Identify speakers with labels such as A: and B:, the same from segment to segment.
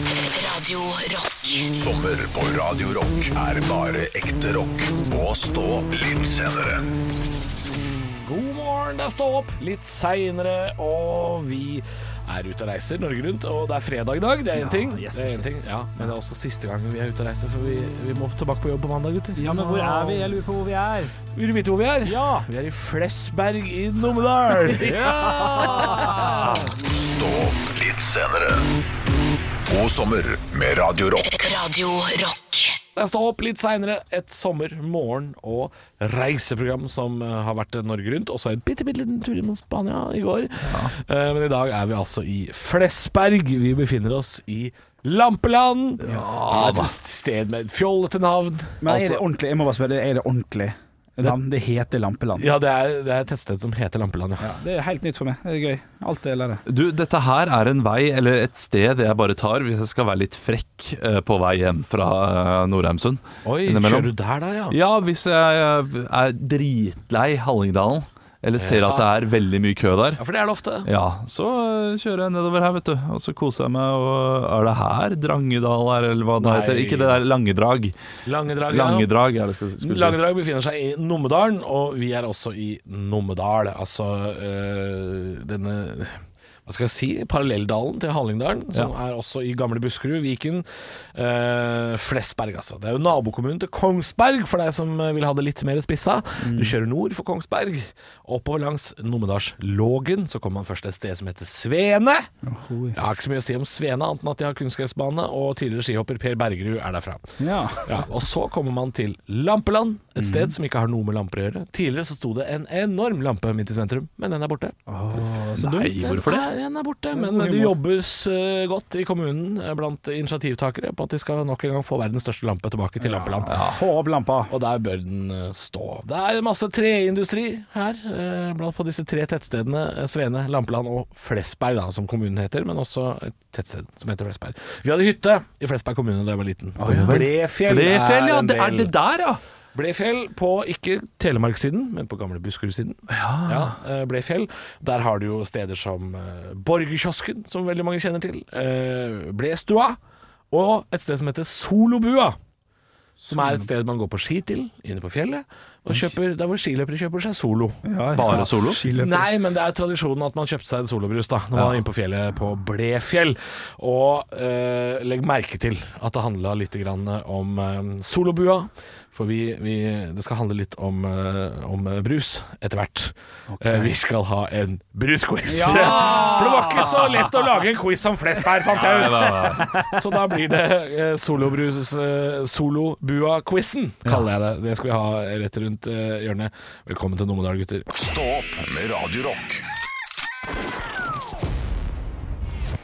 A: Radio Rock.
B: Sommer på Radio Rock er bare ekte rock. Og stå litt senere.
C: God morgen, det er Stå opp litt seinere, og vi er ute og reiser Norge rundt. Og det er fredag i dag, det er én ting.
D: yes,
C: det er
D: yes,
C: en ting.
D: yes.
C: Ja, men det er også siste gang vi er ute og reiser, for vi, vi må tilbake på jobb på mandag, gutter.
D: Ja, men hvor er vi? Jeg lurer på hvor vi er.
C: Vil du vite hvor vi er?
D: Ja.
C: Vi er i Flesberg i Numedal. ja!
B: Stå opp litt senere. God sommer med Radio Rock.
A: Radio Rock.
C: Det er Stå opp litt seinere, et sommer-, morgen- og reiseprogram som eh, har vært eh, Norge rundt. Og så en bitte, bitte liten tur innom Spania i går. Eh, Men i dag er vi altså i Flesberg. Vi befinner oss i Lampeland. Ja, et sted med et fjollete navn.
E: Men er
C: Altså-
E: det ordentlig? Jeg må bare spørre, er det ordentlig? Lam, det heter Lampeland.
C: ja, det er, det er et tettsted som heter Lampeland, ja.
E: Det er helt nytt for meg. Det er gøy. Alt det eller det.
F: Du, dette her er en vei, eller et sted jeg bare tar hvis jeg skal være litt frekk eh, på vei hjem fra eh, Nordheimsund.
C: Oi,
F: Innimellom.
C: kjører du der, da? Ja.
F: Ja, hvis jeg eh, er dritlei Hallingdalen, eller ser at det er veldig mye kø der,
C: ja, for det er det ofte.
F: ja, så eh, kjører jeg nedover her, vet du. Og så koser jeg meg, og er det her Drangedal er, eller hva det
C: Nei.
F: heter? Ikke det der Langedrag.
C: Langedrag. ja.
F: Langedrag er det jeg skulle si.
C: Langedrag befinner seg i Numedalen, og vi er også i Numedal. Altså øh, denne hva skal jeg si, parallelldalen til Hallingdalen, som er også i gamle Buskerud, Viken. øh, Flesberg, altså. Det er jo nabokommunen til Kongsberg, for deg som øh, vil ha det litt mer spissa. Du kjører nord for Kongsberg. Oppover langs Numedalslågen så kommer man først til et sted som heter Svene. Jeg har ikke så mye å si om Svene, annet enn at de har kunstgressbane, og tidligere skihopper Per Bergerud er derfra.
E: Ja.
C: Ja, og så kommer man til Lampeland,
F: Mhm.
C: et sted som ikke har noe med lamper å gjøre. Tidligere så sto det en enorm lampe midt i sentrum, men den er borte.
F: Nei, hvorfor det?
C: Nei, Den er borte, men det jobbes eh, godt i kommunen eh, blant initiativtakere på at de skal nok en gang få verdens største lampe tilbake til Lampeland.
E: Få opp lampa.
C: Og der bør den eh, stå. Det er masse treindustri her, eh, blant på disse tre tettstedene eh, Svene, Lampeland og Flesberg, da, som kommunen heter, men også et tettsted som heter Flesberg. Vi hadde hytte i Flesberg kommune da jeg var liten. Blefjell,
F: Blefjell, ja.
C: en
F: Det er
C: del-
F: det der, ja.
C: Blefjell på ikke Telemark-siden, men på gamle Buskerud-siden. Ja. eh, Blefjell. Der har du jo steder som eh, Borgerkiosken, som veldig mange kjenner til. eh, Blestua. Og et sted som heter Solobua. Som er et sted man går på ski til, inne på fjellet. Og kjøper, der hvor skiløpere kjøper seg Solo.
F: Bare solo?
C: Nei, men det er tradisjonen at man kjøpte seg en solobrus da Når man var inne på fjellet på Blefjell Og eh, legg merke til at det handla litt grann om eh, solobua For vi, vi, det skal handle litt om, eh, om eh, brus etter hvert Eh, Vi skal ha en brusquiz For det var ikke så lett å lage en quiz om Flesberg, fant jeg ut så da blir det eh, solobrus, eh, solobua-quizen, kaller jeg det. Det skal vi ha rett rundt eh, hjørnet. Velkommen til Numedal, gutter.
B: Stå opp med Radio Rock.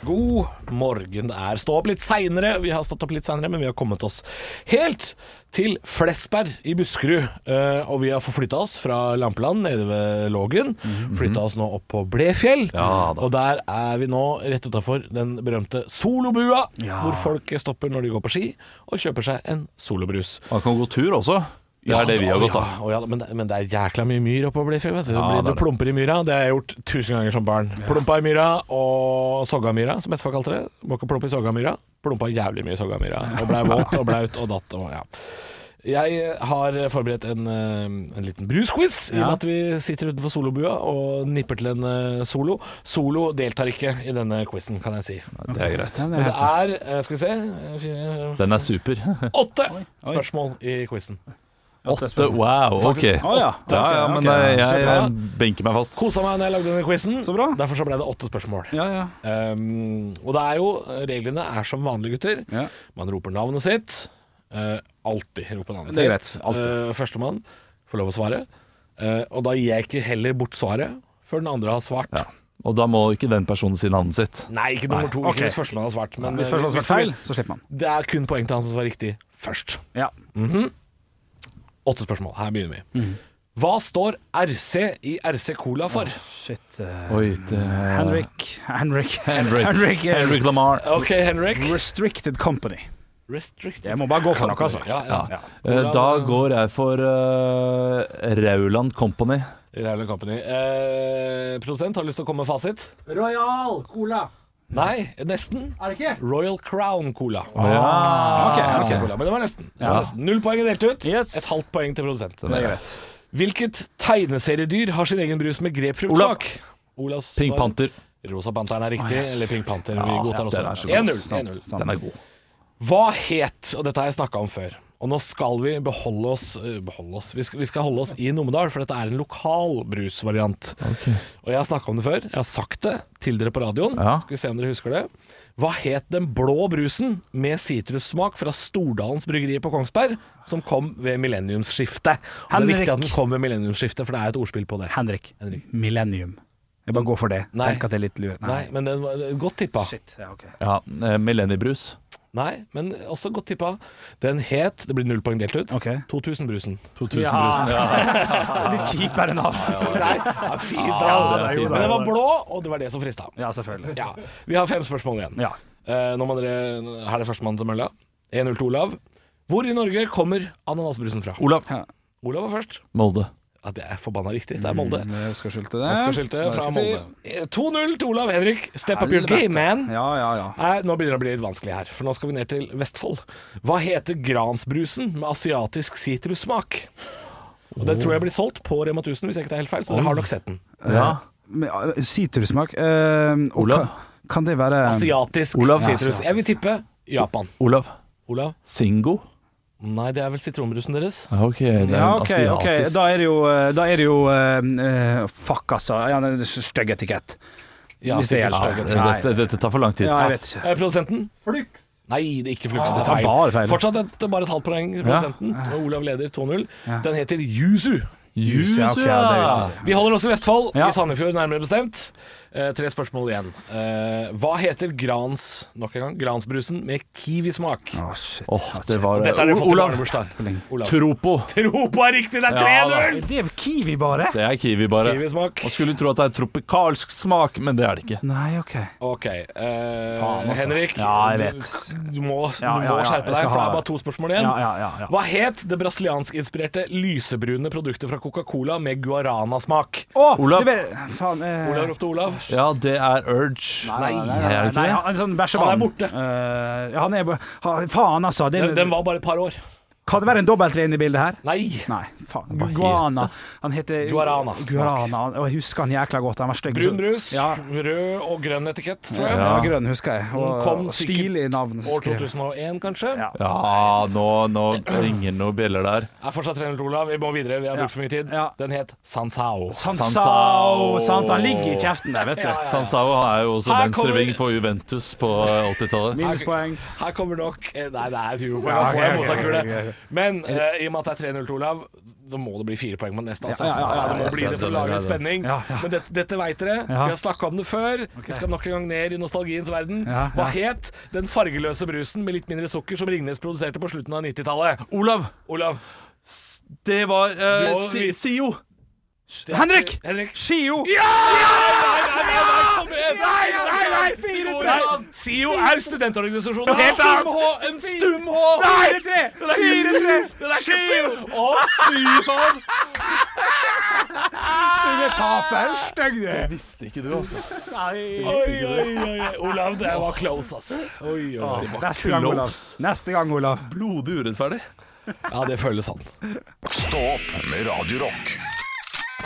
C: God morgen. Det er stå opp litt seinere. Vi har stått opp litt seinere, men vi har kommet oss helt til Flesberg i Buskerud. Eh, og vi har forflytta oss fra Lampeland nede ved Lågen. Flytta oss nå opp på Blefjell.
F: Mhm. Ja da.
C: og der er vi nå rett utafor den berømte solobua, hvor folk stopper når de går på ski og kjøper seg en solobrus.
F: Man kan gå tur også. Det er det vi har
C: å,
F: gått, da.
C: ja, å, ja, men, det, men det er jækla mye myr oppe på Blefjell. vet Du,
F: Ja,
C: Blir-
F: det er
C: du
F: det.
C: plumper i myra. Det har jeg gjort tusen ganger som barn. Plumpa i myra og soggamyra, som bestefar kalte det. Må ikke plumpe i soggamyra. Plumpa jævlig mye i soggamyra. Og blei våt og blaut og datt og ja. Jeg har forberedt en, eh, en liten brusquiz, i og med at vi sitter utenfor solobua og nipper til en eh, solo. Solo deltar ikke i denne quizen, kan jeg si.
F: Det er greit.
E: Den
C: Men
E: er
C: det
E: helt-
C: er, eh, skal vi se, eh, fire,
F: Den er super.
C: åtte spørsmål i quizen.
F: Åtte, wow, ok.
E: Å Ah, ja.
F: Ja, ja,
E: Ok,
F: men
E: ok.
F: eh,
C: Så
F: jeg
C: bra.
F: eh, benker meg fast.
C: Kosa meg da jeg lagde denne quizen.
E: Så bra.
C: Derfor så ble det åtte spørsmål.
E: Ja, ja.
C: Um, og det er jo Reglene er som vanlige, gutter.
E: Ja.
C: Man roper navnet sitt. Uh, alltid roper navnet
E: Det er
C: sitt.
E: greit, alltid.
C: Uh, Førstemann får lov å svare. Uh, og da gir jeg ikke heller bort svaret før den andre har svart.
F: Ja. Og da må ikke den personen si navnet sitt.
C: Nei, ikke nummer to.
E: ok.
C: Ikke hvis førstemann har svart. Men
E: Hvis
C: uh,
E: følelsen har
C: hvis
E: vært
C: du
E: feil,
C: vil-
E: så slipper man.
C: Det er kun poeng til han som svarer riktig først.
E: Ja.
C: Åtte spørsmål. Her begynner vi.
E: Mhm.
C: Hva står RC i RC Cola for?
E: Shit. eh,
F: Oi, det
E: Henrik Henrik
F: Henrik.
E: Henrik, eh,
F: Henrik Lamar.
C: OK, Henrik.
E: Restricted Company.
C: Restricted.
E: Jeg må bare gå for noe, altså.
C: Ja, ja.
E: Ja.
F: Eh, Da går jeg for eh, Rauland Company.
C: Rauland Company. Eh, produsent, har du lyst til å komme med fasit?
G: Royal Cola.
C: Nei, nesten.
E: Er det ikke?
C: Royal Crown Cola.
E: ok,
C: Ja,
E: ok.
C: Cola, Men det var nesten. Det var nesten. Null poeng er delt ut.
E: Yes.
C: Et halvt poeng til produsent.
F: Den er greit.
C: Hvilket tegneseriedyr har sin egen brus med
F: Olav.
C: grepfruktsmak? Olavs svar.
F: Pink Panther.
C: Rosa Panteren er riktig. eller Pink Panther. Vi godtar
F: den er så
C: også.
F: god.
C: 1-0. 1-0.
E: Sant.
F: Den er god.
C: Hva het, og dette har jeg snakka om før Og nå skal vi beholde oss, eh, beholde oss. Vi, skal, vi skal holde oss i Numedal, for dette er en lokal brusvariant. Og jeg har snakka om det før. Jeg har sagt det til dere på radioen.
F: Ja.
C: Skal vi se om dere husker det. Hva het den blå brusen med sitrussmak fra Stordalens bryggeri på Kongsberg, som kom ved millenniumsskiftet? Og det er
E: Henrik.
C: viktig at den kom ved millenniumsskiftet, for det er et ordspill på det.
E: Henrik.
C: Henrik.
E: Millennium. Jeg bare går for det.
C: Nei.
E: Tenk at det er litt lurt.
C: Nei, men den var godt tippa.
E: Shit. Ja, ok.
F: Ja, eh, Millenniebrus.
C: Nei, men også godt tippa. Den het Det blir null poeng delt ut.
E: Ok.
C: 2000-brusen.
F: 2000
E: Ja. Litt kjipere navn.
C: Nei, ja, fint, da.
F: Ja, det er jo
C: Men
F: det.
C: den var blå, og det var det som frista.
E: Ja, selvfølgelig.
C: Ja. Vi har fem spørsmål igjen.
E: Ja.
C: Eh, nå må dere, her er det førstemann til mølla. 1-0 til Olav. Hvor i Norge kommer ananasbrusen fra?
F: Olav.
E: Ja.
C: Olav var først.
F: Molde.
C: Ja, Det er forbanna riktig. Det er Molde.
E: Jeg skal skilte det.
C: Oscarskiltet fra
E: Hva Mm. skal jeg
C: Molde.
E: si?
C: Eh, 2-0 til Olav Henrik. Step up your
E: Helvete.
C: game, man.
E: Ja, ja, ja.
C: Nei, eh, nå begynner det å bli litt vanskelig her, for nå skal vi ned til Vestfold. Hva heter gransbrusen med asiatisk sitrussmak? Og Den tror jeg blir solgt på Rema 1000, hvis jeg ikke tar helt feil, så dere har nok sett den.
F: Ja.
E: Men, eh, Sitrussmak eh, og
F: Olav?
E: Kan, kan det være
C: Asiatisk
F: Olav.
C: sitrus. Jeg vil tippe Japan.
F: Olav.
C: Olav?
F: Singo.
C: Nei, det er vel sitronbrusen deres.
F: Ja, ok, det er en
E: Ja, ok, ok.
F: asiatisk
E: Da er det jo, eh, da er det jo eh, eh, Fuck, altså. Ja, det er Stygg etikett.
C: Ja,
E: Hvis det
C: sikkert.
E: gjelder.
F: ja, dette, dette tar for lang tid.
E: Ja, jeg vet ikke.
C: Er produsenten? Flux. Nei, det er ikke Flux.
E: Ah,
C: det
E: det
C: er
E: er bare feil. Ah.
C: Fortsatt et, bare et halvt poeng til produsenten. Og Olav leder 2-0. Den heter Yuzu.
F: Jus,
E: Ja, ok, ja, det visste jeg ikke.
C: Vi holder oss i Vestfold,
E: Ja.
C: i Sandefjord nærmere bestemt. Eh, tre spørsmål igjen. Eh, hva heter grans nok en gang, gransbrusen med kiwismak?
E: Å, shit.
F: Åh, det var
C: Dette har dere fått til
F: Olav.
C: barnebursdagen. Olav.
F: Tropo.
C: Tropo er riktig! Det er
F: Ja,
C: 3-0!
E: Det er kiwi, bare?
F: Det er kiwi, bare.
C: Kiwismak.
F: Man skulle tro at det er tropikalsk smak, men det er det ikke.
E: Nei, OK.
C: Ok, eh,
E: Faen, altså.
C: Henrik.
E: Ja, jeg
C: du-
E: vet.
C: Du må,
E: Ja,
C: du
E: ja,
C: må
E: ja,
C: skjerpe
E: jeg
C: deg,
E: skal
C: for det
E: ha
C: er bare
E: det.
C: to spørsmål igjen.
E: Ja, ja, ja, ja.
C: Hva het det brasilianskinspirerte lysebrune produktet fra Coca-Cola med guarana-smak?
E: Å,
F: Olav.
E: det ble- Faen. eh,
C: Olav ropte Olav.
F: Ja, det er Urge.
E: Nei, nei, nei,
F: er det
E: nei,
F: ikke
E: nei,
F: det?
E: han er sånn bæsjevann.
C: Han er borte.
E: Eh, ja, han er bo- ha, Faen, altså. Det,
C: Den, den var bare et par år.
E: Kan det være en dobbelt V inne i bildet her?
C: Nei!
E: Nei, faen.
F: heter
E: Guana. Han heter
C: Guarana.
E: Guarana. Og jeg husker han jækla godt. Han var stygg.
C: Brun brus,
E: Ja.
C: rød og grønn etikett, tror jeg.
E: ja, grønn husker jeg.
C: Den
E: Og,
C: kom
E: og
C: sikkert
E: stilig navn.
C: År
E: skrev jeg.
C: 2001, kanskje.
E: Ja.
F: Ja, nå, nå ringer noen bjeller der.
C: Er fortsatt 300 til Olav. Vi må videre, vi har brukt for mye tid.
E: Ja.
C: Den het Sansao.
E: Sansao. Sant, han ligger i kjeften der, vet du.
F: Sansao er jo også
C: Her
F: venstreving
C: kommer-
F: for Juventus på 80-tallet.
E: Minuspoeng.
C: Her kommer nok eh, Nei, det er et humorpoeng.
E: Ja,
C: Da får jeg
E: ok, ok,
C: Mozart-kule.
E: ok, ok,
C: Men eh, i og med at det er 3-0 til Olav, så må det bli fire poeng på neste. Altså.
E: Ja, ja, ja, ja,
C: det må
E: ja,
C: bli
F: ja,
C: det
F: ja,
C: for å
F: ja,
C: lage
F: ja,
C: litt spenning.
E: Ja, ja.
C: Men dette, dette veit dere.
E: Ja.
C: Vi har snakka om det før. Vi skal nok en gang ned i nostalgiens verden.
E: Ja,
C: Hva
E: ja.
C: het den fargeløse brusen med litt mindre sukker som Ringnes produserte på slutten av 90-tallet?
F: Olav,
C: Olav.
F: det var eh,
C: Jo,
F: Si-
C: vi-
F: Sio.
C: det er-
E: Henrik!
C: Henrik.
E: Shio!
C: Nei, nei, nei, nei, kom igjen!
E: Nei, nei, nei,
C: Nei, SIO er studentorganisasjonen.
E: Helt sant.
C: Stum H, En stum H!
E: Nei, tre!
C: Den er ikke
E: Fire,
C: stum! Den er ikke stum!
F: Å, fy faen!
E: Sine taper. Stygg du er.
F: Visste ikke du, altså.
C: Oi, oi, oi, oi. Olav, det var close, ass. Oi, oi, det var-
E: Neste gang, Olav. Neste gang, Olav.
F: Blodig urettferdig.
C: Ja, det føles sånn.
B: Stå opp med Radio Rock.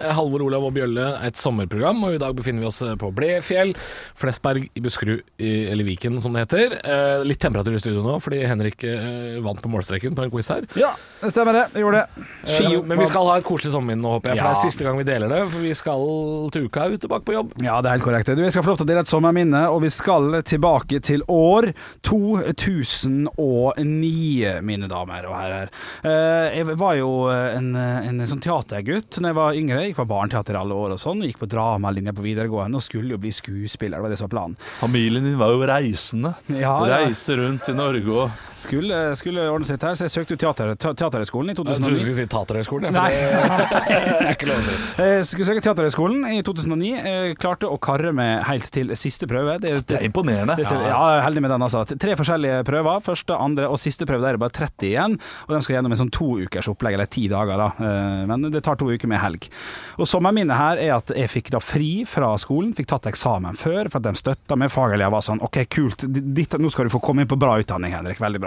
C: Eh, Halvor, Olav og Bjølle, et sommerprogram, og i dag befinner vi oss eh, på Blefjell, Flesberg i Buskerud, i- eller Viken som det heter. Eh, Litt temperatur i studio nå, fordi Henrik eh, vant på målstreken på en quiz her.
E: Ja, det stemmer det. Jeg gjorde det.
C: Eh, Men vi skal ha et koselig sommerminne nå, håper jeg, for
E: Ja.
C: det er siste gang vi deler det, for vi skal til uka ut tilbake på jobb.
E: Ja, det er helt korrekt. Du, jeg skal få lov til å dele et sommerminne, og vi skal tilbake til år 2009, mine damer og herrer. Eh, Jeg var jo en, en sånn teatergutt da jeg var yngre. Jeg gikk på barneteater i alle år og sånn. Gikk på dramalinja på videregående og skulle jo bli skuespiller, det var det som var planen.
F: Familien din var jo reisende.
E: Ja, ja.
F: Reise rundt i Norge og
E: Skulle, skulle ordne sitt her, så jeg søkte jo teater, te- Teaterhøgskolen i
C: Jeg trodde du
E: 2009.
C: skulle si Taterhøgskolen. jeg, for
E: Nei.
C: det-
E: Jeg skulle søke Teaterhøgskolen i 2009. eh, Klarte å karre meg helt til siste prøve. Det,
F: Det er imponerende.
E: Dette, ja, heldig med den, altså. Tre forskjellige prøver. Første, andre og siste prøve. Der er det bare 30 igjen. Og de skal gjennom en sånn to ukers opplegg, eller ti dager, da. Eh, Men det tar to uker med helg. Og sommerminnet her er at jeg fikk da fri fra skolen, fikk tatt eksamen før, for at de støtta meg. Fagelever var sånn OK, kult, ditt, nå skal du få komme inn på bra utdanning, Henrik. Veldig bra.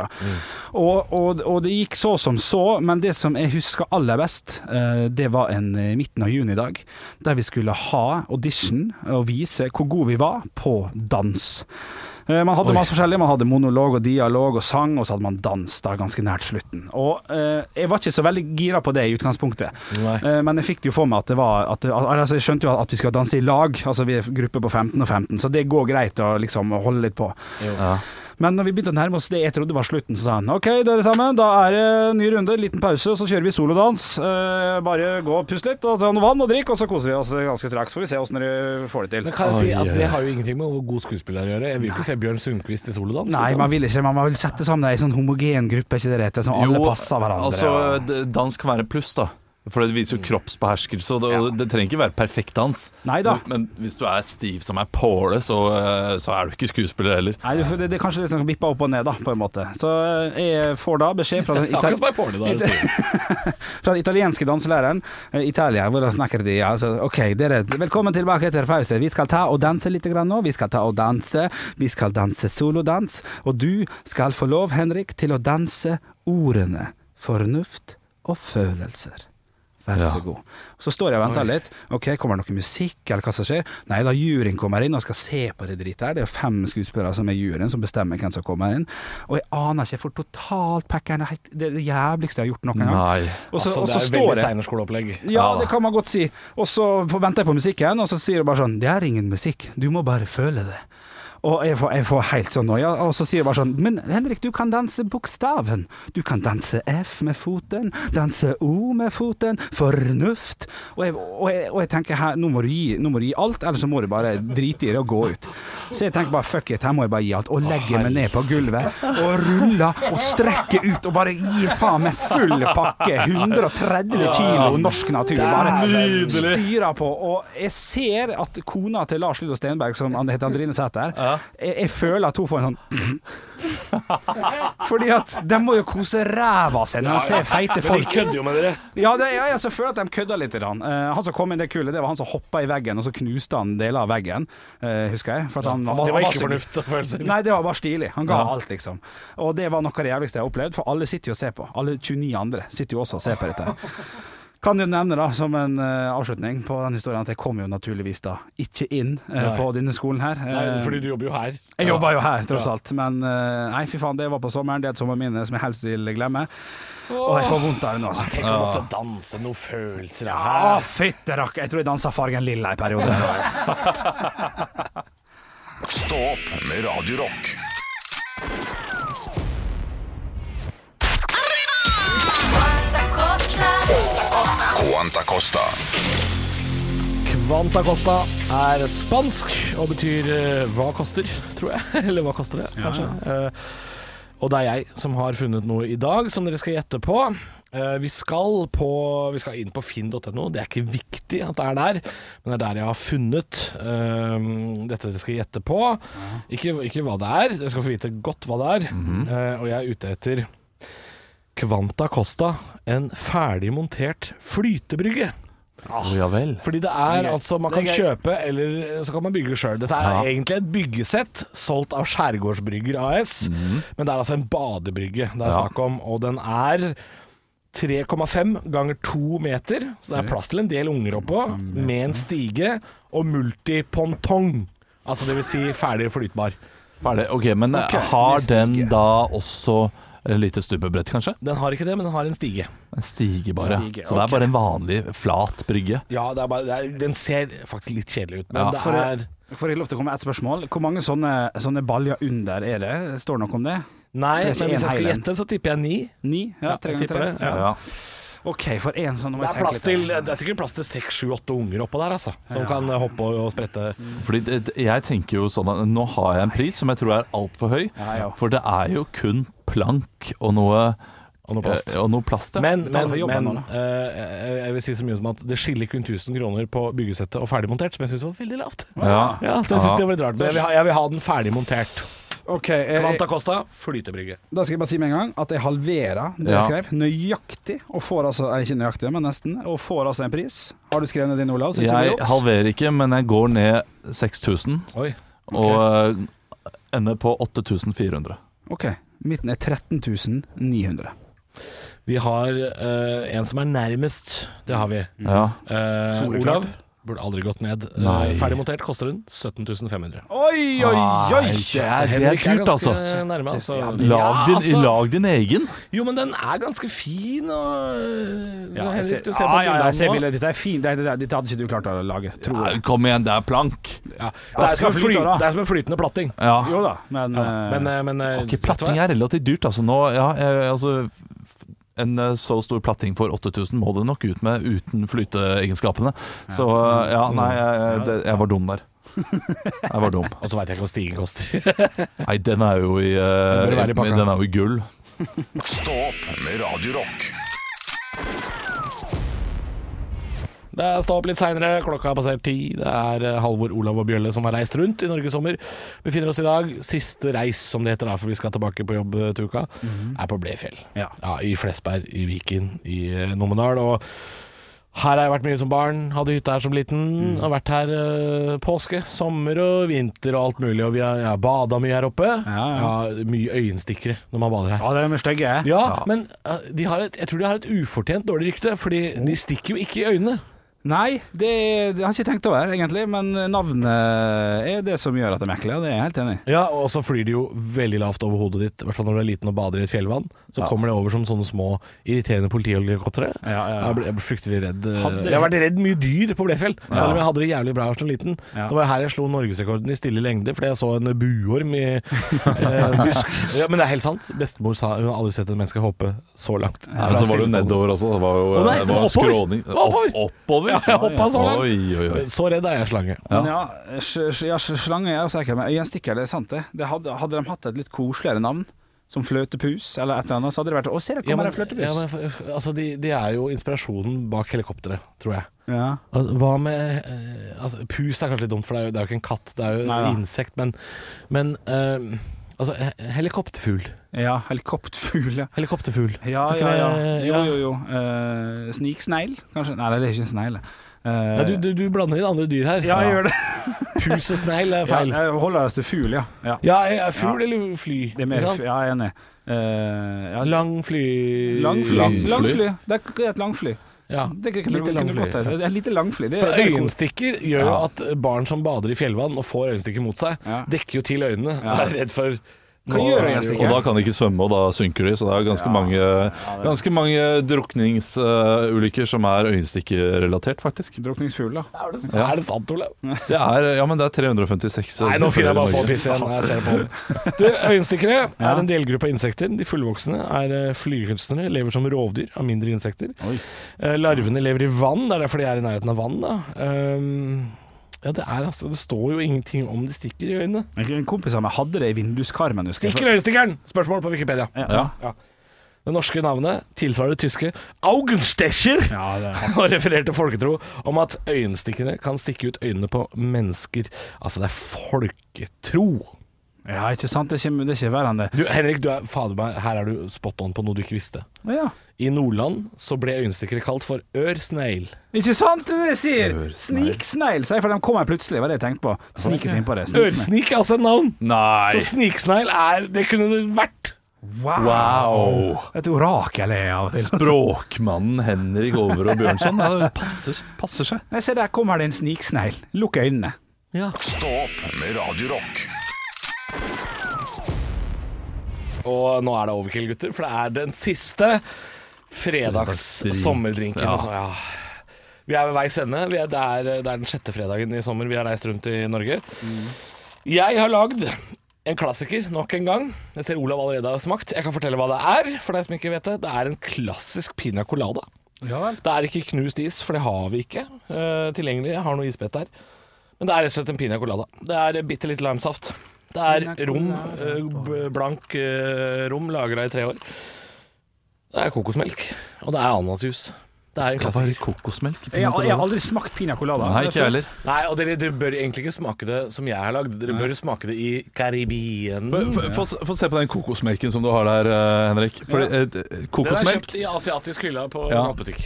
E: Og, og, og det gikk så som så, men det som jeg husker aller best, eh, det var en eh, midten av juni dag, der vi skulle ha audition og vise hvor gode vi var på dans. Eh, Man hadde
C: Oi.
E: masse forskjellig. Man hadde monolog og dialog og sang, og så hadde man dans da ganske nært slutten. Og eh, jeg var ikke så veldig gira på det i utgangspunktet,
C: Nei.
E: Eh, men jeg fikk det jo for meg at det var at, det- al- altså Jeg skjønte jo at vi skal danse i lag, altså vi er gruppe på 15 og 15, så det går greit å liksom holde litt på.
F: Ja.
E: Men når vi begynte å nærme oss det jeg trodde var slutten, så sa han OK, dere sammen, da er det ny runde, liten pause, og så kjører vi solodans. Eh, bare gå og pust litt, og ta noe vann og drikk, og så koser vi oss ganske straks. Får vi se åssen dere får det til.
C: Men kan jeg si
F: Oi,
C: at
F: oi, oi.
C: det har jo ingenting med hvor god skuespiller er å gjøre. Jeg vil jo ikke se Bjørn Sundquist i solodans.
E: Nei,
C: liksom.
E: man vil ikke. Man vil sette sammen ei sånn homogen gruppe, er ikke det det heter? Som alle passer hverandre.
F: Altså,
E: og-
F: d- dans kan være pluss, da. For det viser jo kroppsbeherskelse, og det, og det trenger ikke være perfekt dans.
E: Neida.
F: Men, men hvis du er stiv som ei påle, så, eh, så er du ikke skuespiller heller.
E: Nei, det, det er kanskje litt sånn vippa opp og ned, da, på en måte. Så eh, jeg får da beskjed fra den,
C: Akkurat
E: itali
C: som ei påle, da. er det stil.
E: fra den italienske danselæreren eh, Italia, hvor han snakker de ja, så, OK, dere, velkommen tilbake etter pause. Vi skal ta og danse litt grann nå. Vi skal ta og danse. Vi skal danse solodans. Og du skal få lov, Henrik, til å danse ordene fornuft og følelser. Vær så
F: Ja.
E: god. Så står jeg og venter litt. Ok, Kommer det noe musikk, eller hva som skjer? Nei da, juryen kommer inn og skal se på det dritet her. Det er jo fem skuespillere som er juryen, som bestemmer hvem som kommer inn. Og jeg aner ikke, jeg får totalt packeren. Det er helt- Det er det jævligste jeg har gjort noen gang.
F: Nei.
E: Og så,
C: Altså,
E: og
C: det
E: så
C: er jo veldig
E: står jeg
C: Steinerskoleopplegg.
E: ja, det kan man godt si. Og så får- venter jeg på musikken, og så sier hun bare sånn Det er ingen musikk, du må bare føle det. Og jeg får, jeg får helt sånn noia, og så sier hun bare sånn Men Henrik, du kan danse bokstaven. Du kan danse F med foten, danse O med foten, fornuft. Og jeg, og jeg, og jeg tenker her, nå må, du gi, nå må du gi alt, eller så må du bare drite i det og gå ut. Så jeg tenker bare fuck it, her må jeg bare gi alt. Og legger meg ned på gulvet og ruller og strekker ut og bare gir faen meg full pakke. 130 kilo norsk natur. Bare styrer på. Og jeg ser at kona til Lars Lillo Stenberg, som han heter Andrine Sæther, jeg, jeg føler at hun får en sånn Fordi at de må jo kose ræva av seg når de ser feite folk.
C: kødder jo med dere.
E: Ja, det, ja, jeg så føler at de kødda litt. i den. Eh, han som kom inn det kullet, det var han som hoppa i veggen, og så knuste han deler av veggen, eh, husker jeg. For at han,
C: Det var
E: han
C: ikke
E: så-
C: fornuft og følelser.
E: Nei, det var bare stilig. Han ga alt, liksom. Og det var noe av det jævligste jeg har opplevd, for alle sitter jo og ser på. Alle 29 andre sitter jo også og ser på dette. her. Kan jo nevne da, som en eh, avslutning på den historien, at jeg kom jo naturligvis da ikke inn eh,
C: Nei.
E: på denne skolen her.
C: Nei,
E: Eh,
C: fordi du jobber jo her.
E: jeg jobba jo her, tross alt. Men eh, nei, fy faen, det var på sommeren. Det er et sommerminne som jeg helst vil glemme. Og jeg får vondt av det nå. Altså.
C: Tenk å måtte danse noen følelser
E: Å, fytte rakker! Jeg tror jeg dansa fargen lilla i perioden.
B: Stå opp med Radio Rock. Quanta Costa.
C: Quanta Costa er spansk og betyr eh, hva koster, tror jeg. Eller hva koster det, kanskje. Eh, og det er jeg som har funnet noe i dag som dere skal gjette på. Eh, vi, skal på vi skal inn på finn.no. Det er ikke viktig at det er der, men det er der jeg har funnet eh, dette dere skal gjette på. Ikke, ikke hva det er, dere skal få vite godt hva det er. Eh, og jeg er ute etter Quanta Costa, en ferdig montert flytebrygge.
F: Å, ja vel.
C: Fordi det er altså Man kan
E: Det er
C: kjøpe, eller så kan man bygge sjøl. Dette er egentlig et byggesett solgt av Skjærgårdsbrygger AS.
E: Mhm.
C: Men det er altså en badebrygge det er snakk om, og den er 3,5 ganger 2 meter, så det er plass til en del unger oppå, med en stige og multipontong. Altså det vil si ferdig flytbar.
F: Ferdig. Ok, men eh, har den da også et lite stuppebrett, kanskje?
C: Den har ikke det, men den har en stige.
F: Den stiger bare.
E: Stiger,
F: så det er bare en vanlig, flat brygge.
C: Ja, det er bare, det er, Den ser faktisk litt kjedelig ut, men
F: Ja,
C: det
E: for-
C: er
E: Får jeg lov til å komme med ett spørsmål? Hvor mange sånne, sånne baljer under er det? Står det noe om det?
C: Nei,
E: Det
C: men hvis
E: er ikke en
C: jeg skal
E: heil en.
C: gjette, så tipper jeg ni.
E: Ni? Ja, tre
C: jeg
E: ganger
C: tipper
E: tre.
C: det. Ja.
F: Ja.
E: OK, for én sånn. nå må
C: Det
E: jeg
C: er,
E: tenke
C: plass
E: litt
C: til,
E: her.
C: det er sikkert plass til seks, sju, åtte unger oppå der, altså. Som
E: Ja.
C: kan hoppe og, og sprette.
F: Fordi det, det- jeg tenker jo sånn at nå har jeg en pris som jeg tror er altfor høy.
E: Ja, ja.
F: For det er jo kun plank og noe
C: Og noe plast.
F: eh, Og noe plast ja.
C: Men,
E: Betale
C: men,
E: for jobben
C: men
E: nå, da.
C: eh, jeg- jeg vil si så mye som at det skiller kun 1000 kroner på byggesettet og ferdigmontert, som jeg syns var veldig lavt.
F: ja.
C: Ja, så jeg syns
F: Ja.
C: det var litt rart. Men jeg vil ha, jeg vil ha den ferdig montert.
E: OK. Jeg,
C: Quanta Costa, flytebrygge.
E: Da skal jeg bare si med en gang at jeg halverer det
F: Ja.
E: jeg skrev. Nøyaktig, og får altså eh, Ikke nøyaktig, men nesten. Og får altså en pris. Har du skrevet ned din, Olav? så ikke det
F: Jeg
E: blir juks?
F: halverer ikke, men jeg går ned 6000
C: Oi.
F: og eh, ender på 8400.
E: OK. Midten er 13.900
C: Vi har eh, en som er nærmest. Det har vi.
F: Ja.
C: Eh, Olav burde aldri gått ned. Eh,
F: Nei.
C: ferdig montert koster hun 17 500.
E: Oi, oi, oi!
F: det er, det er dyrt, altså.
C: Nærme, altså.
F: Lag
C: Ja,
F: din,
C: altså.
F: lag din egen.
C: Jo, men den er ganske fin. Og,
E: Ja, jeg
C: Henrik,
E: ser, Ah,
C: du ser Ah,
E: ja,
C: på
E: ja, jeg ser
C: bildene nå.
E: bildet. Dette er fint. Dette, dette, dette hadde ikke du klart å lage, tror
F: Ja,
E: jeg.
F: kom igjen, det er plank.
C: Ja, det, er som en
E: skal
C: fly,
E: flyte, da.
C: det er som en flytende platting.
F: Ja.
E: Jo da, men, eh,
C: Men, eh, men eh,
F: Ok,
C: vet du
F: platting
C: hva?
F: er relativt dyrt, altså. Nå, ja, eh, altså f- en eh, så stor platting for 8000 må det nok ut med uten flyteegenskapene. Så eh, ja, nei, jeg, det, jeg var dum der. Jeg var dum.
C: Og så veit jeg ikke hva stigen koster.
F: Nei, den er jo i, eh,
C: Den bør være i pakka.
F: den er jo i gull.
B: Stå opp med Radio Rock.
C: Det er stå opp litt seinere, klokka er passert ti. Det er eh, Halvor, Olav og Bjølle som har reist rundt i Norge i sommer. Befinner oss i dag. Siste reis, som det heter da, for vi skal tilbake på jobb eh, til uka, er på Blefjell.
E: Mhm. Ja.
C: I Flesberg, i Viken, i eh, Numedal. Og her har jeg vært mye som barn. Hadde hytte her som liten.
E: Mm.
C: Har vært her eh, påske, sommer og vinter og alt mulig. Og vi har ja, bada mye her oppe.
E: Ja,
C: Ja, mye øyenstikkere når man bader her.
E: Ja, det er med stygge.
C: Ja, men eh, de har et, jeg tror de har et ufortjent dårlig rykte, fordi de stikker jo ikke i øynene.
E: Nei, det, det har jeg ikke tenkt over, egentlig. Men eh, navnet er det som gjør at det er merkelig, og det er jeg helt enig i.
C: Ja, og så flyr de jo veldig lavt over hodet ditt, i hvert fall når du er liten og bader i et fjellvann. Så kommer det over som sånne små irriterende politihelikoptre.
E: Ja, ja, ja.
C: Jeg, ble, jeg ble fryktelig redd. eh,
E: Hadde-
C: Jeg har vært redd mye dyr på Blefjell, selv om jeg hadde det jævlig bra som liten.
E: Ja.
C: Det var her jeg slo norgesrekorden i stille lengde fordi jeg så en buorm i eh, busk. Ja, men det er helt sant. Bestemor sa hun har aldri sett et menneske hoppe så langt.
F: Nei, så var det jo nedover også. Det var jo
C: Å nei,
F: det
C: det
F: var
C: var oppover.
F: skråning.
C: Det var oppover.
F: Opp- oppover.
C: Ja, jeg hoppa så langt.
F: Oi, oi, oi.
C: Så redd er jeg slange.
E: Men ja, sj- sj- ja sj- slange er jeg også sikker på, men øyenstikker, det er sant det. det hadde, hadde de hatt et litt koseligere navn, som fløtepus eller et eller annet, så hadde det vært Å, se, der
C: Ja,
E: kommer
C: men-
E: en fløtepus.
C: ja,
E: Ja,
C: men f- altså, de, de er jo inspirasjonen bak helikopteret, tror jeg.
E: ja.
C: Altså, Hva med eh, altså, Pus er kanskje litt dumt, for det er jo, det er jo ikke en katt, det er jo
E: Nei, da.
C: et insekt. Men, men eh, altså, he- helikopterfugl.
E: helikopterfugl, ja.
C: Helikopterfugl.
E: Ja,
C: Er ikke
E: ja, ja.
C: det-
E: Jo,
C: ja.
E: jo, jo. Eh, Sniksnegl, kanskje? Nei, det er ikke en snegl. Eh,
C: Nei, du, du, du blander inn andre dyr her.
E: ja, jeg gjør det.
C: Pus og snegl er feil.
E: Ja, jeg holder oss til fugl, ja. ja.
C: Ja, jeg er fugl eller fly.
E: Det er mer,
C: ikke sant?
E: ja, jeg er enig. Eh, ja,
C: Lang fly
E: Langfly.
F: Langfly.
E: langfly. Det er ikke et langfly.
C: Ja.
E: Det kunne
C: Lite
E: kunne
C: langfly,
E: gått her. Det er lite langfly. Det,
C: For
E: det er kos-
C: øyenstikker gjør jo at barn som bader i fjellvann og får øyenstikker mot seg,
E: Ja.
C: dekker jo til øynene. Er redd for
E: Hva gjør
F: Og da
E: øyenstikker?
F: kan de ikke svømme, og da synker de. Så det er ganske mange, ganske mange drukningsulykker som er øyenstikkerelatert, faktisk.
E: Drukningsfugl, da.
C: Er det sant, Olav?
F: Det er, ja, men det er 356
C: Nei, nå finner jeg bare på å
F: Norge.
C: pisse igjen. Jeg ser på den. Du, Øyenstikkere er en delgruppe av insekter. De fullvoksne er eh, flygekunstnere, lever som rovdyr av mindre insekter. Eh, Larvene lever i vann, det er derfor de er i nærheten av vann. Da. Ehm, Ja, det er altså Det står jo ingenting om de stikker i øynene.
E: En kompis av meg hadde det i vinduskarmen. husker jeg.
C: Stikker øyenstikkeren! Spørsmål på Wikipedia.
E: Ja.
C: Det norske navnet tilsvarer det tyske Augenstecher.
E: Ja, det er.
C: og refererte folketro om at øyenstikkerne kan stikke ut øynene på mennesker. Altså, det er folketro.
E: ja, ikke sant? Det er ikke, det er ikke verre enn det.
C: Du, Henrik, du er, fader meg, her er du spot on på noe du ikke visste.
E: Å, Ja.
C: I Nordland så ble øyenstikkere kalt for ørsnegl.
E: Ikke sant det er det jeg sier?
F: Ørsnegl.
E: Sniksnegl, sier jeg, for de kommer plutselig. Var det jeg tenkte på. Snikes innpå det. Sniksnegl.
C: Ørsnik er altså et navn.
F: Nei!
C: Så sniksnegl er Det kunne det vært.
F: Wow!
E: Et orakel er jeg av og til.
F: Språkmannen Henrik Over og Bjørnson. Ja, det passer, passer seg.
E: Jeg ser der kommer det en sniksnegl. Lukk øynene.
B: Stå opp med Radio Rock.
C: Og nå er det overkill, gutter, for det er den siste fredags
F: Fredagsdrink.
C: sommerdrinken.
F: Ja.
C: Altså, ja. Vi er ved veis ende. Vi er der, det er den sjette fredagen i sommer vi har reist rundt i Norge.
F: Mm.
C: Jeg har lagd en klassiker nok en gang. Jeg ser Olav allerede har smakt. Jeg kan fortelle hva det er, for deg som ikke vet det. Det er en klassisk piña colada. Det er ikke knust is, for det har vi ikke eh, tilgjengelig. Jeg har noe isbett der. Men det er rett og slett en piña colada. Det er bitte litt limesaft. Det er rom, eh, b- blank eh, rom lagra i tre år. Det er kokosmelk, og det er ananasjus. Det er en
F: Skal være
C: klassiker.
F: kokosmelk? i
E: Jeg, har- jeg
F: pina
E: har
F: colada?
E: aldri smakt pina colada.
F: Nei, ikke jeg heller.
C: Nei, og dere, dere bør egentlig ikke smake det som jeg har lagd. Dere bør smake det i Karibien.
F: Få- få- Få se- få se på den kokosmelken som du har der, eh, Henrik. Fordi, eh, d-
C: Den er
F: kokosmelk
C: kjøpt i asiatisk hylle på
F: Ja.
C: matbutikk.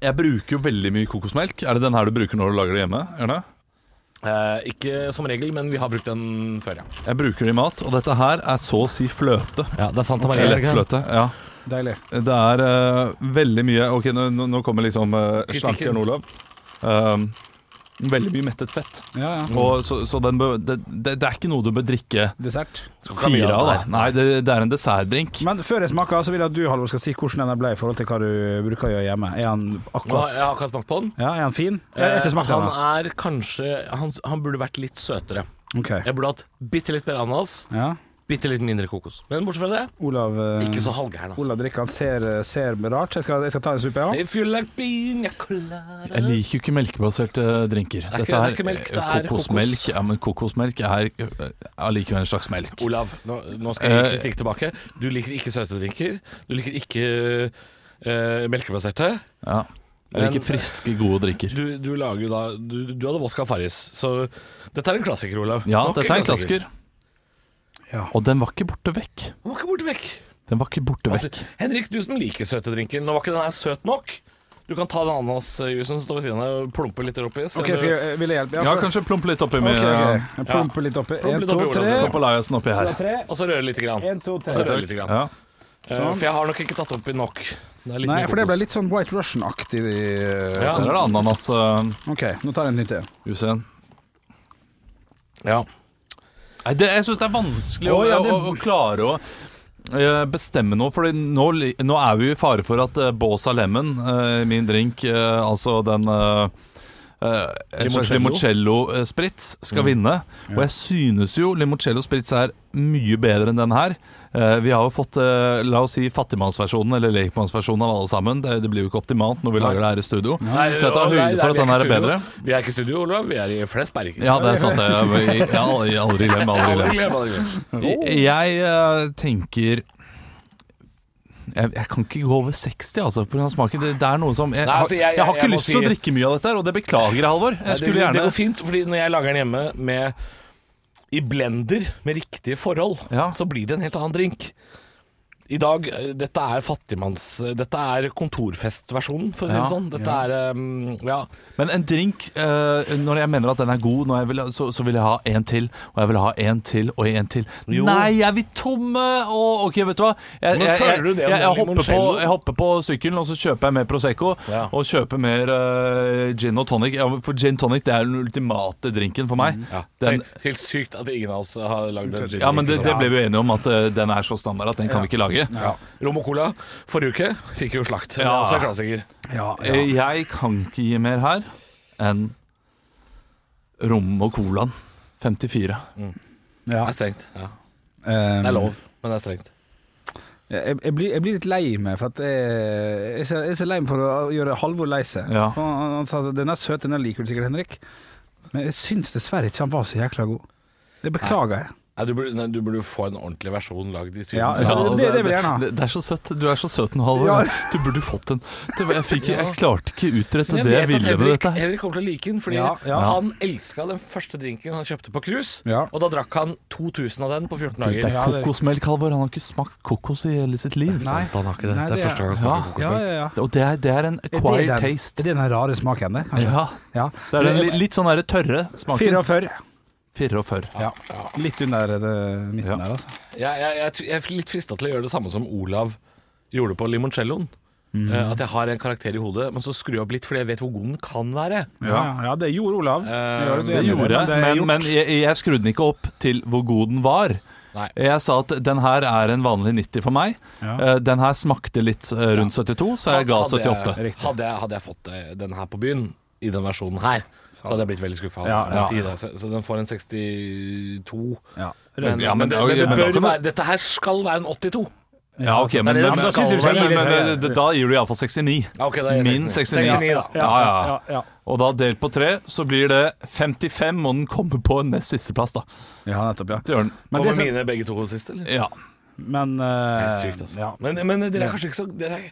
F: Jeg bruker jo veldig mye kokosmelk. Er det den her du bruker når du lager det hjemme? Erne?
C: Eh, ikke som regel, men vi har brukt den før, ja.
F: Jeg bruker det i mat, og dette her er så å si fløte.
C: det er sant.
F: Det er Lettfløte. Ja.
E: Deilig.
F: Det er eh, veldig mye Ok, nå, nå nå kommer liksom uh, slank
C: Kritikken.
F: Jan Olav. Um, veldig mye mettet fett.
E: Ja, ja.
F: Og, så så den bør, det, det, det er ikke noe du bør drikke
E: Dessert.
C: ikke ha mye
F: fire av.
C: av
F: Da. Nei, det, det er en dessertdrink.
E: Men før jeg smaker, så vil jeg at du Halvor, skal si hvordan den ble i forhold til hva du bruker å gjøre hjemme. Er han
C: Nå,
E: akkurat
C: jeg har akkurat smakt på den.
E: Ja, er han fin? Jeg har ikke smakt
C: Eh,
E: den.
C: han
E: da.
C: er kanskje han, han burde vært litt søtere.
E: Ok.
C: Jeg burde hatt bitte litt mer ananas,
E: Ja.
C: bitte litt mindre kokos. Men bortsett fra det,
E: Olav, eh,
C: ikke så halvgæren, altså.
E: Olav drikker, han ser, eh, ser rart. Jeg skal, jeg skal ta en suppe, ja.
C: If you like pina colada
F: Jeg liker jo ikke melkebaserte drinker.
C: er ikke-
F: Dette
C: det er ikke melk, det
F: her, eh,
C: er
F: kokosmelk.
C: kokos.
F: Ja, men kokosmelk er eh, allikevel en slags melk.
C: Olav, nå, nå skal jeg
F: Eh,
C: gi kritikk tilbake. Du liker ikke søte drinker. Du liker ikke eh, melkebaserte.
F: Ja. Jeg
C: Men-
F: liker friske, gode drinker.
C: Du, du lager jo da Du, du hadde vodka Farris, så dette er en klassiker, Olav.
F: Ja,
C: Nok
F: dette er en klassiker. Og den var ikke borte vekk.
C: Den var ikke borte vekk.
F: Den var ikke borte
C: Altså,
F: vekk.
C: Henrik, du som liker søte drinker, nå var ikke den her søt nok. Du kan ta den ananasjusen som står ved siden av og plumpe litt oppi. så
E: Ok,
C: du-
E: skal jeg, eh, Vil jeg hjelpe?
F: Ja,
E: for-
F: kanskje plumpe litt oppi
E: Ok,
F: med
E: ok.
F: ja.
E: Jeg plumper litt oppi.
C: Plump
E: En,
C: litt
E: to,
C: oppi, Olav,
E: tre.
C: så-
F: Palajasen oppi her.
E: Fra tre.
C: Og så røre litt. Grann.
E: En, to, tre.
C: Og så røre litt grann.
F: Ja.
C: Eh, For jeg har nok ikke tatt oppi nok. Det er litt
E: Nei,
C: mye
E: for det ble
C: kokos.
E: litt sånn White Russian-aktig. eh,
C: Ja.
F: Der er det ananas, uh,
E: Ok, nå tar jeg en nytt til.
F: Hussein.
C: ja.
F: Nei, det, jeg syns det er vanskelig å,
E: Å, ja,
F: å,
E: det-
F: å, å klare å eh, bestemme noe, for nå, li- nå er vi jo i fare for at uh, Båsa Lemon, eh, min drink, eh, altså den uh, en slags limoncello-sprits
C: Mm.
F: skal vinne. Og jeg synes jo limoncello-sprits er mye bedre enn den her. Eh, vi har jo fått eh, la oss si fattigmannsversjonen eller lekmannsversjonen av alle sammen. Det, det blir jo ikke optimalt når vi lager det her i studio. Så jeg tar
C: Nei,
F: høyde
C: nei,
F: for
C: vi
F: at den
C: ikke i
F: her er
C: studio.
F: bedre.
C: Vi er ikke i studio, Olav. Vi er i Flesberg.
F: Ja, det er sant. det. Jeg, jeg, jeg, aldri glem, aldri glem.
C: Aldri glem, aldri glem.
F: Jeg eh, tenker jeg, jeg kan ikke gå over 60 altså, på grunn av smaken. Det, det er noe som Jeg,
C: Nei, altså, jeg-
F: har- jeg
C: jeg-
F: har
C: jeg
F: ikke
C: må
F: lyst til å
C: si-
F: drikke mye av dette, her, og det beklager jeg, Halvor.
C: Nei,
F: Jeg
C: det,
F: skulle
C: det
F: gjerne
C: går fint, fordi når jeg lager den hjemme med, i blender med riktige forhold,
F: Ja.
C: så blir det en helt annen drink. I dag, eh, dette er fattigmanns... eh, Dette er kontorfestversjonen, for å si det
F: Ja,
C: sånn. Dette er um, Ja.
F: Men en drink, eh, når jeg mener at den er god, når jeg vil, ha- så, så vil jeg ha en til, og jeg vil ha en til, og en til.
C: Jo.
F: Nei, jeg vil tomme! Og, ok, vet du hva? Jeg,
C: Men
F: jeg,
C: føler
F: jeg,
C: du det om
F: jeg, jeg,
C: den
F: hopper på,
C: limoncello?
F: jeg hopper på sykkelen, og så kjøper jeg mer Prosecco.
C: Ja.
F: Og kjøper mer eh, gin og tonic. Ja, for gin tonic det er den ultimate drinken for meg.
C: ja.
F: Den,
C: Tenk, helt sykt at ingen av oss har lagd en gin
F: ja, men det,
C: tonic,
F: det
C: liksom.
F: ble vi jo enige om, at eh, den er så standard at den kan vi ikke lage.
C: ja. liksom. Rom og cola forrige uke fikk jo slakt. Det er
F: Ja.
C: også en klassiker.
E: Ja,
F: Eh, Jeg kan ikke gi mer her enn rom og colaen. 54.
E: ja.
C: Det er strengt. Ja.
E: Um,
C: Det er lov, men det er strengt.
E: Eh, Jeg, jeg, blir, jeg blir litt lei meg, for at jeg, jeg, er så- jeg er så lei meg for å gjøre Halvor lei seg.
F: Ja.
E: For Han, han sa at den er søt, den her liker du sikkert, Henrik. Men jeg syns dessverre ikke han var så jækla god. Det beklager jeg.
C: Nei, du, burde, nei, du burde få en ordentlig versjon lagd i studio.
E: Ja,
C: Så-
E: det- det vil jeg gjerne ha.
F: altså, det, det er så søtt. Du er så søt nå, Halvor.
E: Ja.
F: Du burde fått en. Det var- Jeg, fikk, jeg klarte ikke utrette
C: Men
F: det jeg
C: vet at
F: ville med
C: Henrik,
F: dette. her
C: Henrik kommer til å like den, fordi
E: Ja, ja.
C: han elska den første drinken han kjøpte på cruise.
E: Ja.
C: Og da drakk han 2000 av den på 14
F: Det
C: dager.
F: er kokosmelk, Halvor. Han har ikke smakt kokos i hele sitt liv.
E: Nei. sant, han har ikke det. Nei, Det er det er- første gang
F: han smaker
E: Ja, ja, ja.
F: Og det er, det er en
E: Er det
F: acquired
E: den,
F: taste.
E: Er det den rare smaken, det? kanskje?
F: Ja.
E: Ja.
F: Det er den li- litt sånn der tørre smaken.
E: 44.
F: 44.
E: Ja. Litt under det midten
F: Ja.
E: der, altså.
C: Jeg, jeg, jeg, jeg er litt frista til å gjøre det samme som Olav gjorde på limoncelloen.
F: Mm.
C: Eh, At jeg har en karakter i hodet, men så skrur jeg opp litt fordi jeg vet hvor god den kan være.
E: Ja, ja, det gjorde Olav. Jeg var litt
F: Eh, Det
E: enig i
F: gjorde jeg,
E: er
F: men,
E: gjort.
F: men jeg, jeg skrudde den ikke opp til hvor god den var.
C: Nei.
F: Jeg sa at den her er en vanlig 90 for meg.
E: Ja.
F: Eh, Den her smakte litt eh, rundt 72, så jeg ga
C: Hadde
F: 78.
C: Jeg, hadde, jeg, hadde jeg fått eh, den her på byen, i den versjonen her, så hadde jeg blitt veldig skuffa.
E: Ja, ja.
C: si det. så, så den får en 62.
E: ja.
C: Men,
F: Ja,
C: men,
F: men
C: det,
F: det-
C: men det
F: men det
C: bør
F: kan-
C: være, dette her skal være en 82.
F: Ja, ok, men, men,
C: det
F: men,
C: skal
F: skal
E: synes jeg
F: være-
E: litt
F: men,
E: høyere.
F: men, da gir du iallfall 69.
C: Ja, ok, da er jeg
F: Min 69.
C: 69 da.
F: Ja, ja, ja.
E: ja, ja.
F: Og da delt på tre, så blir det 55, og den kommer på en nest sisteplass, da.
E: ja nettopp, ja.
F: Det gjør den.
E: Men det
C: Kommer
E: som-
C: mine begge to sist, eller?
F: Ja.
E: Men, eh,
C: Helt sykt, altså.
E: ja.
C: Men, men dere er kanskje ikke så dere er,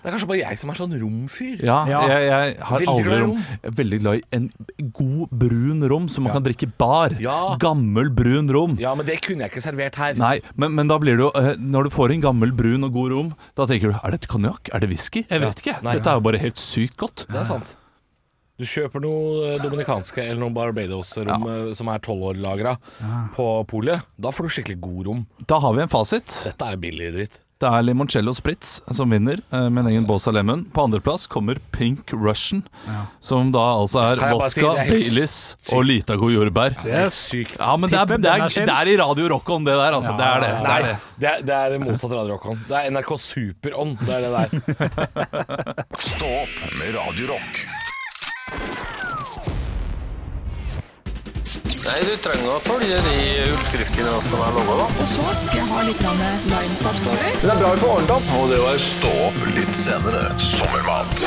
C: Det er kanskje bare jeg som er sånn romfyr.
F: Ja,
D: Ja.
F: Jeg, jeg har
C: Veldig
F: aldri
C: glad i
F: rom.
C: rom.
F: Jeg er veldig glad i en god, brun rom som man kan drikke bar.
C: Ja.
F: Gammel, brun rom.
C: Ja, men det kunne jeg ikke servert her.
F: Nei, men, men da blir det jo eh, Når du får en gammel, brun og god rom, da tenker du Er det konjakk? Er det whisky? Jeg vet ikke.
C: Nei.
F: Dette er jo bare helt sykt godt.
C: Det er sant. Du kjøper noe eh, dominikanske eller noen Barbados-rom eh, som er tolvårlagra på polet. Da får du skikkelig god rom.
F: Da har vi en fasit.
C: Dette er billig dritt.
F: Det er Limoncello Spritz som vinner eh, med en egen bås av lemon. På andreplass kommer Pink Russian, som da altså er
C: Kan jeg bare
F: vodka,
C: si, det er helt
F: Baileys og Litago jordbær.
C: Det er sykt.
F: Ja, men det er,
D: Tippen,
F: det,
D: den er
F: er,
D: sin.
F: det er i Radio Rock on, det der. Altså. Det er det. det,
C: Nei,
F: er det.
C: det er, det er motsatt Radio Rock-on. Det er NRK Super-on. Det er det der.
B: Stå opp med Radio Rock.
G: Nei, du trenger å følge de utskriftene som er lova, da.
A: Og så skal jeg ha litt grann limesaft over.
G: Det er bra vi får ordnet opp. Og det var
B: Stå opp litt senere. Sommermat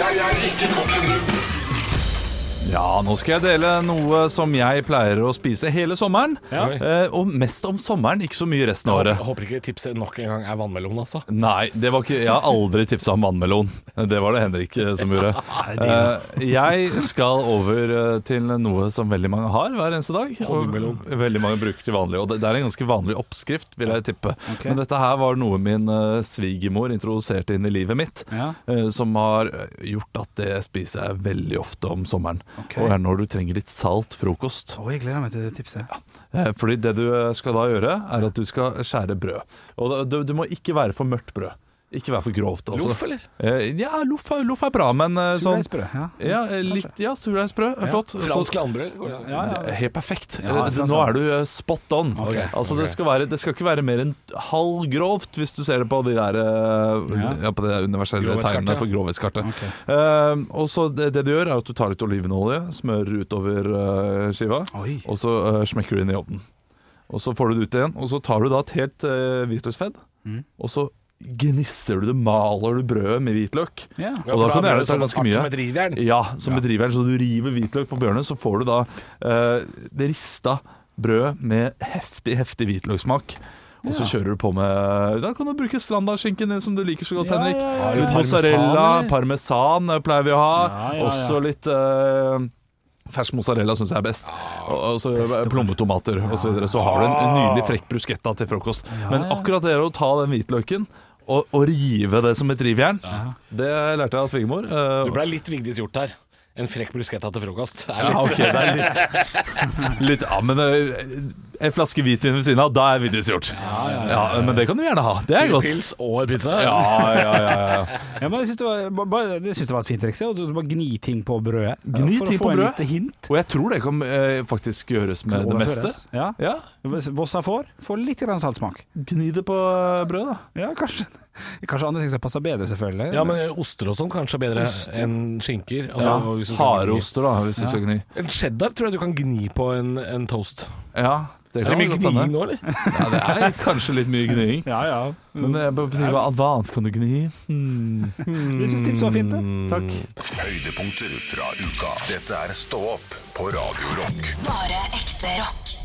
F: Ja, nå skal jeg dele noe som jeg pleier å spise hele sommeren. Eh, og mest om sommeren, ikke så mye resten av året.
C: Jeg håper ikke tipset nok en gang er vannmelon, altså.
F: Nei, det var ikke, jeg har aldri tipsa om vannmelon. Det var det Henrik eh, som gjorde. Eh, jeg skal over eh, til noe som veldig mange har hver eneste dag. Og
C: Honningmelon.
F: veldig mange bruker til vanlig. Og det, det er en ganske vanlig oppskrift, vil jeg tippe. Men dette her var noe min eh, svigermor introduserte inn i livet mitt.
E: Ja.
F: eh, som har eh, gjort at det spiser jeg veldig ofte om sommeren. Og er når du trenger litt salt frokost.
E: Å, jeg gleder meg til det tipset.
F: Eh, Fordi det du eh, skal da gjøre, er at du skal skjære brød. Og da- du, du må ikke være for mørkt brød. Ikke være for grovt. altså.
C: Loff, eller?
F: Eh, Ja, loff er, loff er bra, men eh, sånn
E: Surdeigsbrød. Ja.
F: ja, eh, litt, ja, surdeigsbrød. eh, Flott.
C: Fransk landbrød. går det an?
E: Ja, ja.
F: Det er Helt perfekt.
E: Ja,
F: Eh,
E: fransk
F: Nå
E: landbrød.
F: er du eh, spot on.
C: Ok,
F: altså,
C: ok.
F: det, skal være, det skal ikke være mer enn halvgrovt, hvis du ser det på de der eh,
E: Ja.
F: ja, på det universelle
C: Grovhetskartet,
F: tegnene
C: ja.
F: for grovhetskartet.
E: Ok.
F: Eh, og så det, det du gjør, er at du tar litt olivenolje, smører utover eh, skiva,
E: Oi.
F: og så eh, smekker du inn i ovnen. Og så får du det ut igjen, og så tar du da et helt eh, hvitløksfedd,
D: Mm.
F: og så gnisser du det, maler du brødet med hvitløk.
E: Ja.
C: Ja,
F: Og
C: for
F: da kan du
C: blir
F: gjerne
C: det
F: ta
C: sånn
F: ganske
C: hardt
F: mye.
C: Som et rivjern.
F: Ja, som bedriveren. Så du river hvitløk på bjørnet, så får du da eh, det rista brød med heftig, heftig hvitløkssmak. Og så kjører du på med Da kan du bruke strandaskinken din som du liker så godt,
D: Ja,
F: Henrik.
D: ja,
C: ja.
F: Litt
C: Parmesan,
F: mozzarella,
C: eller?
F: parmesan eh, pleier vi å ha.
D: Ja, ja, ja.
F: Også litt eh, fersk mozzarella syns jeg er best. Og og så eh, plommetomater og så videre. Så har du en, en nydelig frekk bruschetta til frokost. Men akkurat det å ta den hvitløken og, og rive det som et rivjern, det lærte jeg av svigermor. eh,
C: Du blei litt Vigdis gjort her. En frekk bruschetta til frokost. Det er
F: Ja,
C: litt-
F: ok, det er litt, litt Ja, men eh, en flaske hvitvin ved siden av, da er Vigdis gjort. Ja, Men det kan du gjerne ha. Det er godt.
C: Pils og en pizza.
F: Ja, ja, ja, ja.
E: Ja, men jeg syns det, var- ba- ba- jeg synes det var et fint triks. ja, og Du du bare gni ting på brødet. ja,
F: Gni
E: for å
F: ting
E: få
F: på
E: en
F: brødet?
E: lite hint.
F: Og jeg tror det kan eh, faktisk gjøres med det meste.
E: Ja.
F: Ja,
E: Vossa får, får litt grann saltsmak.
F: Gni det på eh, brød, da.
E: Ja, kanskje. Kanskje andre ting som passer bedre, selvfølgelig.
C: Ja, men oster og sånn kanskje er bedre enn skinker. Altså,
F: Ja,
C: og hvis du skal
F: Harde oster, da, hvis du skal gni.
C: gni. En cheddar tror jeg du kan gni på en, en toast.
F: Ja, det
C: Er det
F: kan
C: mye
F: godt hende.
C: gniing nå, eller?
F: Ja, det er kanskje litt mye gniing.
E: ja, ja.
F: Men jeg bare tenker, hva hva annet kan du gni? Hmm.
E: Jeg syns tipset var fint, det.
F: Takk.
B: Høydepunkter fra uka. Dette er Stå opp på Radio Rock.
A: Bare ekte rock.